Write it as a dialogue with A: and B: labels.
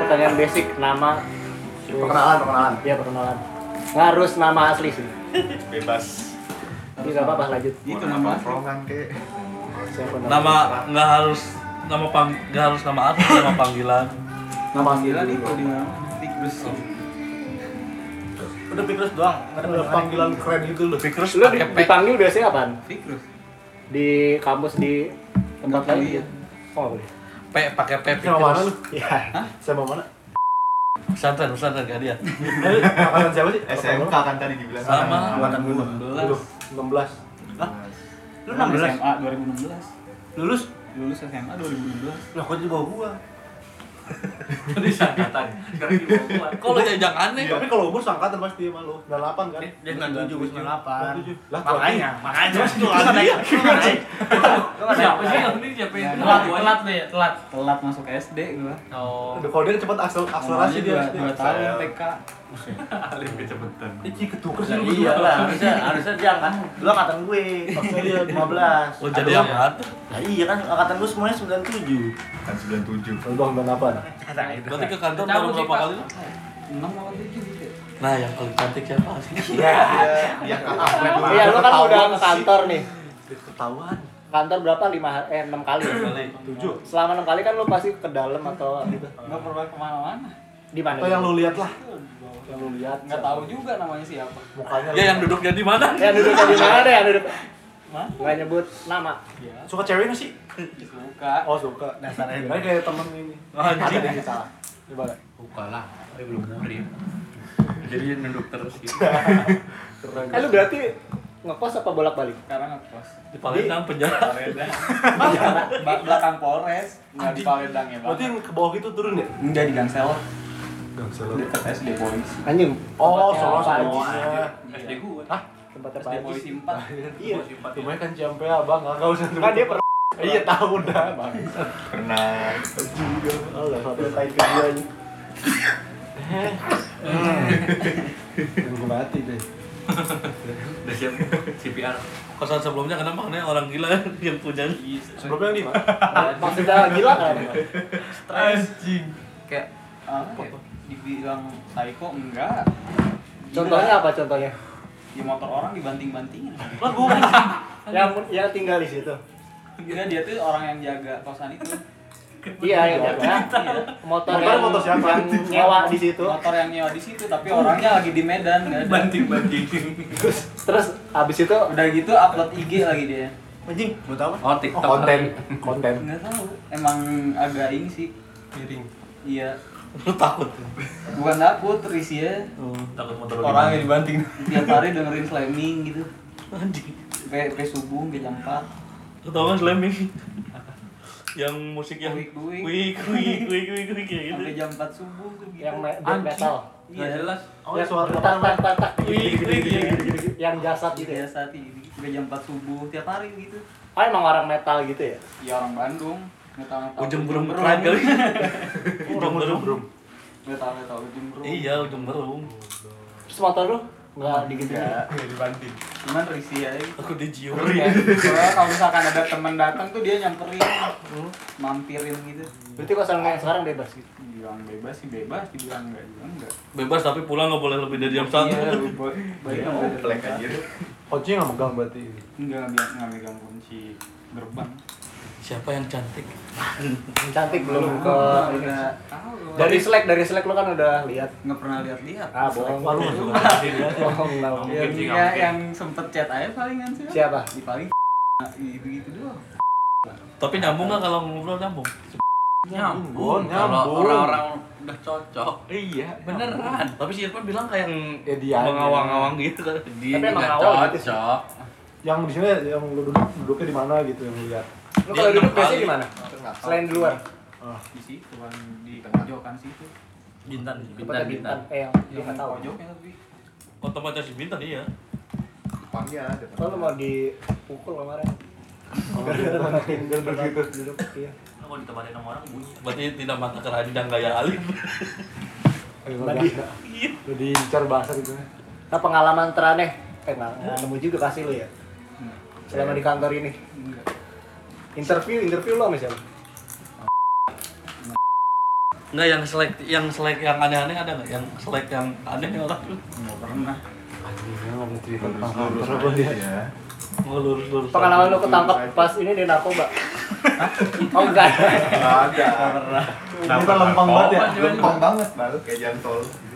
A: Pertanyaan basic nama
B: Perkenalan, perkenalan.
A: ya perkenalan. Nggak harus nama asli sih.
C: bebas
A: Tapi nggak apa-apa lanjut.
C: itu
B: Mau
C: nama
B: nongkrongan kek.
A: Siapa
D: nama nggak harus nama pang nggak harus nama artis nama panggilan
A: nama asli.
C: panggilan Iya, itu di mana tikus
E: Udah Pikrus doang, nggak ada panggilan.
B: keren itu loh.
D: Pikrus
A: Lu di-
D: pakai P
A: dipanggil biasanya apaan?
C: tikus
A: Di kampus di tempat
C: Nggak
A: lain?
C: boleh.
A: Oh, nggak boleh.
D: P pakai P
B: Sama mana lu?
D: Pikrus
A: Iya.
B: Sama mana?
D: pesantren pesantren gak dia
B: Angkatan siapa sih?
F: SMK kan tadi dibilang kan.
D: sama
B: Angkatan gua. Aduh,
C: 2016
B: 16.
E: Lu 16?
C: SMA 2016
E: Lulus?
C: lulus SMA 2016
E: Lah kok di bawah gua?
D: di sangkatan sekarang di bawah gua. kok lo jajang aneh
B: Ya, Tapi kalau umur seangkatan pasti sama lu. 98 kan?
E: Dia 97, gua 98
B: Lah,
E: Iya. Makanya, makanya Lu nggak naik, lu nggak naik Lu nggak naik
D: siapa sih yang ini siapa yang
C: Nggak
E: Telat, telat deh, telat
C: telat masuk SD gua
E: Oh
B: Aduh, Kalau dia cepet aksel- akselerasi
C: Awalnya
B: dia.
C: dua-
B: pasti.
C: dua tahun TK
F: Alif kecepetan.
E: Ih, ketuker Eh, sih lu Iya lah, harusnya, harusnya dia kan Lu angkatan gue, maksudnya dia 15
D: lo Oh, jadi yang artis
E: Nah, iya kan, angkatan gue semuanya 97
F: Kan 97.
B: Lu doang
A: Iya,
B: 98.
D: berarti ke kantor baru berapa kali lo
C: 6 apa 7 gitu
D: nah yang paling cantik siapa sih
B: Ya,
F: Dia kan atlet lah.
A: Iya, lu kan udah ke kantor nih.
B: Ketahuan.
A: Kantor berapa? 5 eh 6 kali. ya?
B: Tujuh.
A: Selama 6 kali kan lu pasti ke dalam atau gitu.
C: Gak pernah kemana-mana
A: Di mana?
B: Atau yang lu lihat lah. Yang lu lihat.
C: Gak tahu juga namanya siapa
B: Mukanya.
D: ya yang duduknya di mana
A: Ya duduk di mana deh yang duduk?
C: Mana?
A: Nggak nyebut nama.
B: Suka cewek nggak sih?
C: Ya, Suka Nah,
B: Oh, suka. Dasarnya. Kirain kayak temen ini.
D: anjing
B: Ada yang salah. Coba lah.
F: Kalah. Tapi belum murid.
C: Jadi nunduk terus gitu
B: Keren.
A: Eh lu berarti ngekos apa bolak-balik?
C: Sekarang ngekos
D: di Palembang penjara
C: Paledang Ba- Belakang Polres Gak di Paledang ya
B: Berarti
C: bang
B: yang ke bawah gitu turun ya?
C: Enggak di Gangsel
B: Gang
C: Dekat SD Boys
A: Anjing,
B: Oh,
A: Tempatnya
B: Solo Iya.
A: apa
B: Solo.
A: aja?
C: SD gua
A: tempatnya
C: SD
A: apa
C: Boys
A: aja?
C: simpan
A: Iya.
B: Rumahnya kan Ciampea, Bang. Enggak usah turun.
A: Kan dia per
B: Iya, tahu dah, Bang.
F: Pernah
B: Juga. Allah, satu tai ke dia aja. Gue mati deh.
D: udah siap CPR kosan sebelumnya kenapa karena orang gila kan, yang punya
C: Iya.
B: Sebelumnya nih,
A: Eh, maksudnya gila kan?
C: Kayak apa ya? Dibilang psycho enggak Gila.
A: Contohnya apa contohnya?
C: Di motor orang dibanting-bantingin
A: Lah gua yang yang tinggal di situ.
C: Kira dia tuh orang yang jaga kosan itu
A: Iya, yang jaga.
C: Iya.
A: Motor
B: Motor-
A: yang
B: motor siapa?
A: yang nyewa di situ.
C: Motor yang nyewa di situ tapi orangnya lagi di Medan enggak ada
F: banting-banting.
A: Terus abis itu
C: Udah gitu upload IG lagi dia
B: anjing, buat apa?
D: oh TikTok
B: konten, konten.
C: Enggak tahu emang agak ini sih
B: Miring.
C: Iya
D: lu takut
C: Bukan takut, risih ya
D: takut motor lu
F: Orangnya dibanting.
C: Tiap hari dengerin slamming gitu
D: gimana? anjing
C: Sampai sampai subuh, sampai jam 4
D: Lu tau kan slamming? yang musik yang
C: Kuik, kuik.
D: kuik kuik kuik kuik kuik kayak gitu.
C: Sampai jam 4 subuh tuh gitu
A: yang me- black metal.
C: Iya jelas
B: Oh,
A: yang
B: suara
A: tak tak tak tak
D: Kuik kuik ya.
A: yang jasad gitu ya.
C: Iya saat ini Sampai jam 4 subuh, tiap hari gitu
A: Oh emang orang metal gitu ya?
C: Ya orang Bandung Nggak tahu nggak tahu
D: Ujung
C: burung
D: burung pride kali. Ujung burung.
C: Nggak tahu nggak tahu ujung burung
D: Iya, ujung burung.
A: Terus motor lu? Enggak digitu.
C: Nggak.
F: Iya, Dibanting.
C: Iya. Cuman risih aja gitu.
D: Aku dicium.
C: Kayak, gitu. soalnya kalau misalkan ada teman datang tuh dia nyamperin Hmm. mampirin gitu
A: Berarti kosan lu yang sekarang bebas gitu.
C: dibilang bebas sih bebas dibilang enggak juga enggak
D: Bebas tapi pulang nggak boleh lebih dari jam
C: iya
D: satu.
C: lu bo- baik
F: Dia
C: nggak boleh
F: oplek anjir.
B: Kuncinya nggak megang berarti.
C: enggak enggak enggak megang kunci gerbang
D: Siapa yang cantik?
A: Cantik belum ke ini.
C: enggak tahu
A: Dari Slack, dari Slack lu kan udah lihat.
C: enggak pernah lihat-lihat
A: Ah, bohong.
B: Malu nggak suka.
A: Bohong lah.
C: ya,
F: Mungkin sih,
C: dia
F: nggak mungkin.
C: yang sempet chat aja palingan sih
A: Siapa?
C: di paling gitu gitu doang
D: Tapi nyambung nggak kalau ngobrol nyambung?
B: Nyambung, nyambung.
D: udah cocok.
B: Iya.
D: Beneran. Tapi si Irfan bilang kayak yang
B: Ya, dia aja.
D: mengawang-awang gitu kan. Dia
A: Tapi emang
D: nggak
A: awal gitu sih.
D: cocok.
B: Yang di sini yang lu duduk duduknya di mana gitu yang lu lihat.
A: Lu kalau
D: Dia
A: duduk
D: enam
A: biasanya
D: kali.
A: gimana?
C: Nggak tahu.
A: Selain di luar.
C: di situ kan di pojokan situ
D: Bintan, bintan,
A: Tempatnya
D: bintan.
A: bintan. Eh, yang
C: yang
A: enggak tahu.
C: pojoknya tapi
D: Oh tempatnya si bintan iya.
F: Pagi ada.
A: Kalau lu mau dipukul kemarin. Karena Tinder begitu duduk iya.
D: Berarti tidak mata keranjang gaya Alif.
A: Tadi.
B: Udah diincar bahasa gitu ya.
A: Nah pengalaman teraneh, eh nggak nggak nemu juga kasih lu ya. Selama di kantor ini. Interview, interview lo sama siapa?
D: Enggak yang selek yang selek yang aneh-aneh ada nggak? Yang selek yang aneh orang
C: Nggak pernah.
B: Anjing, nggak boleh cerita tentang kantor
F: Lurus-lurus aja
B: apa dia.
F: ya.
D: mau lurus-lurus.
A: Pengalaman lo ketangkep pas ini di narkoba. oh enggak.
F: Nggak ada.
C: Nggak pernah.
B: Kita lempeng banget ya.
F: Lempeng banget, Bal. Kayak jantol.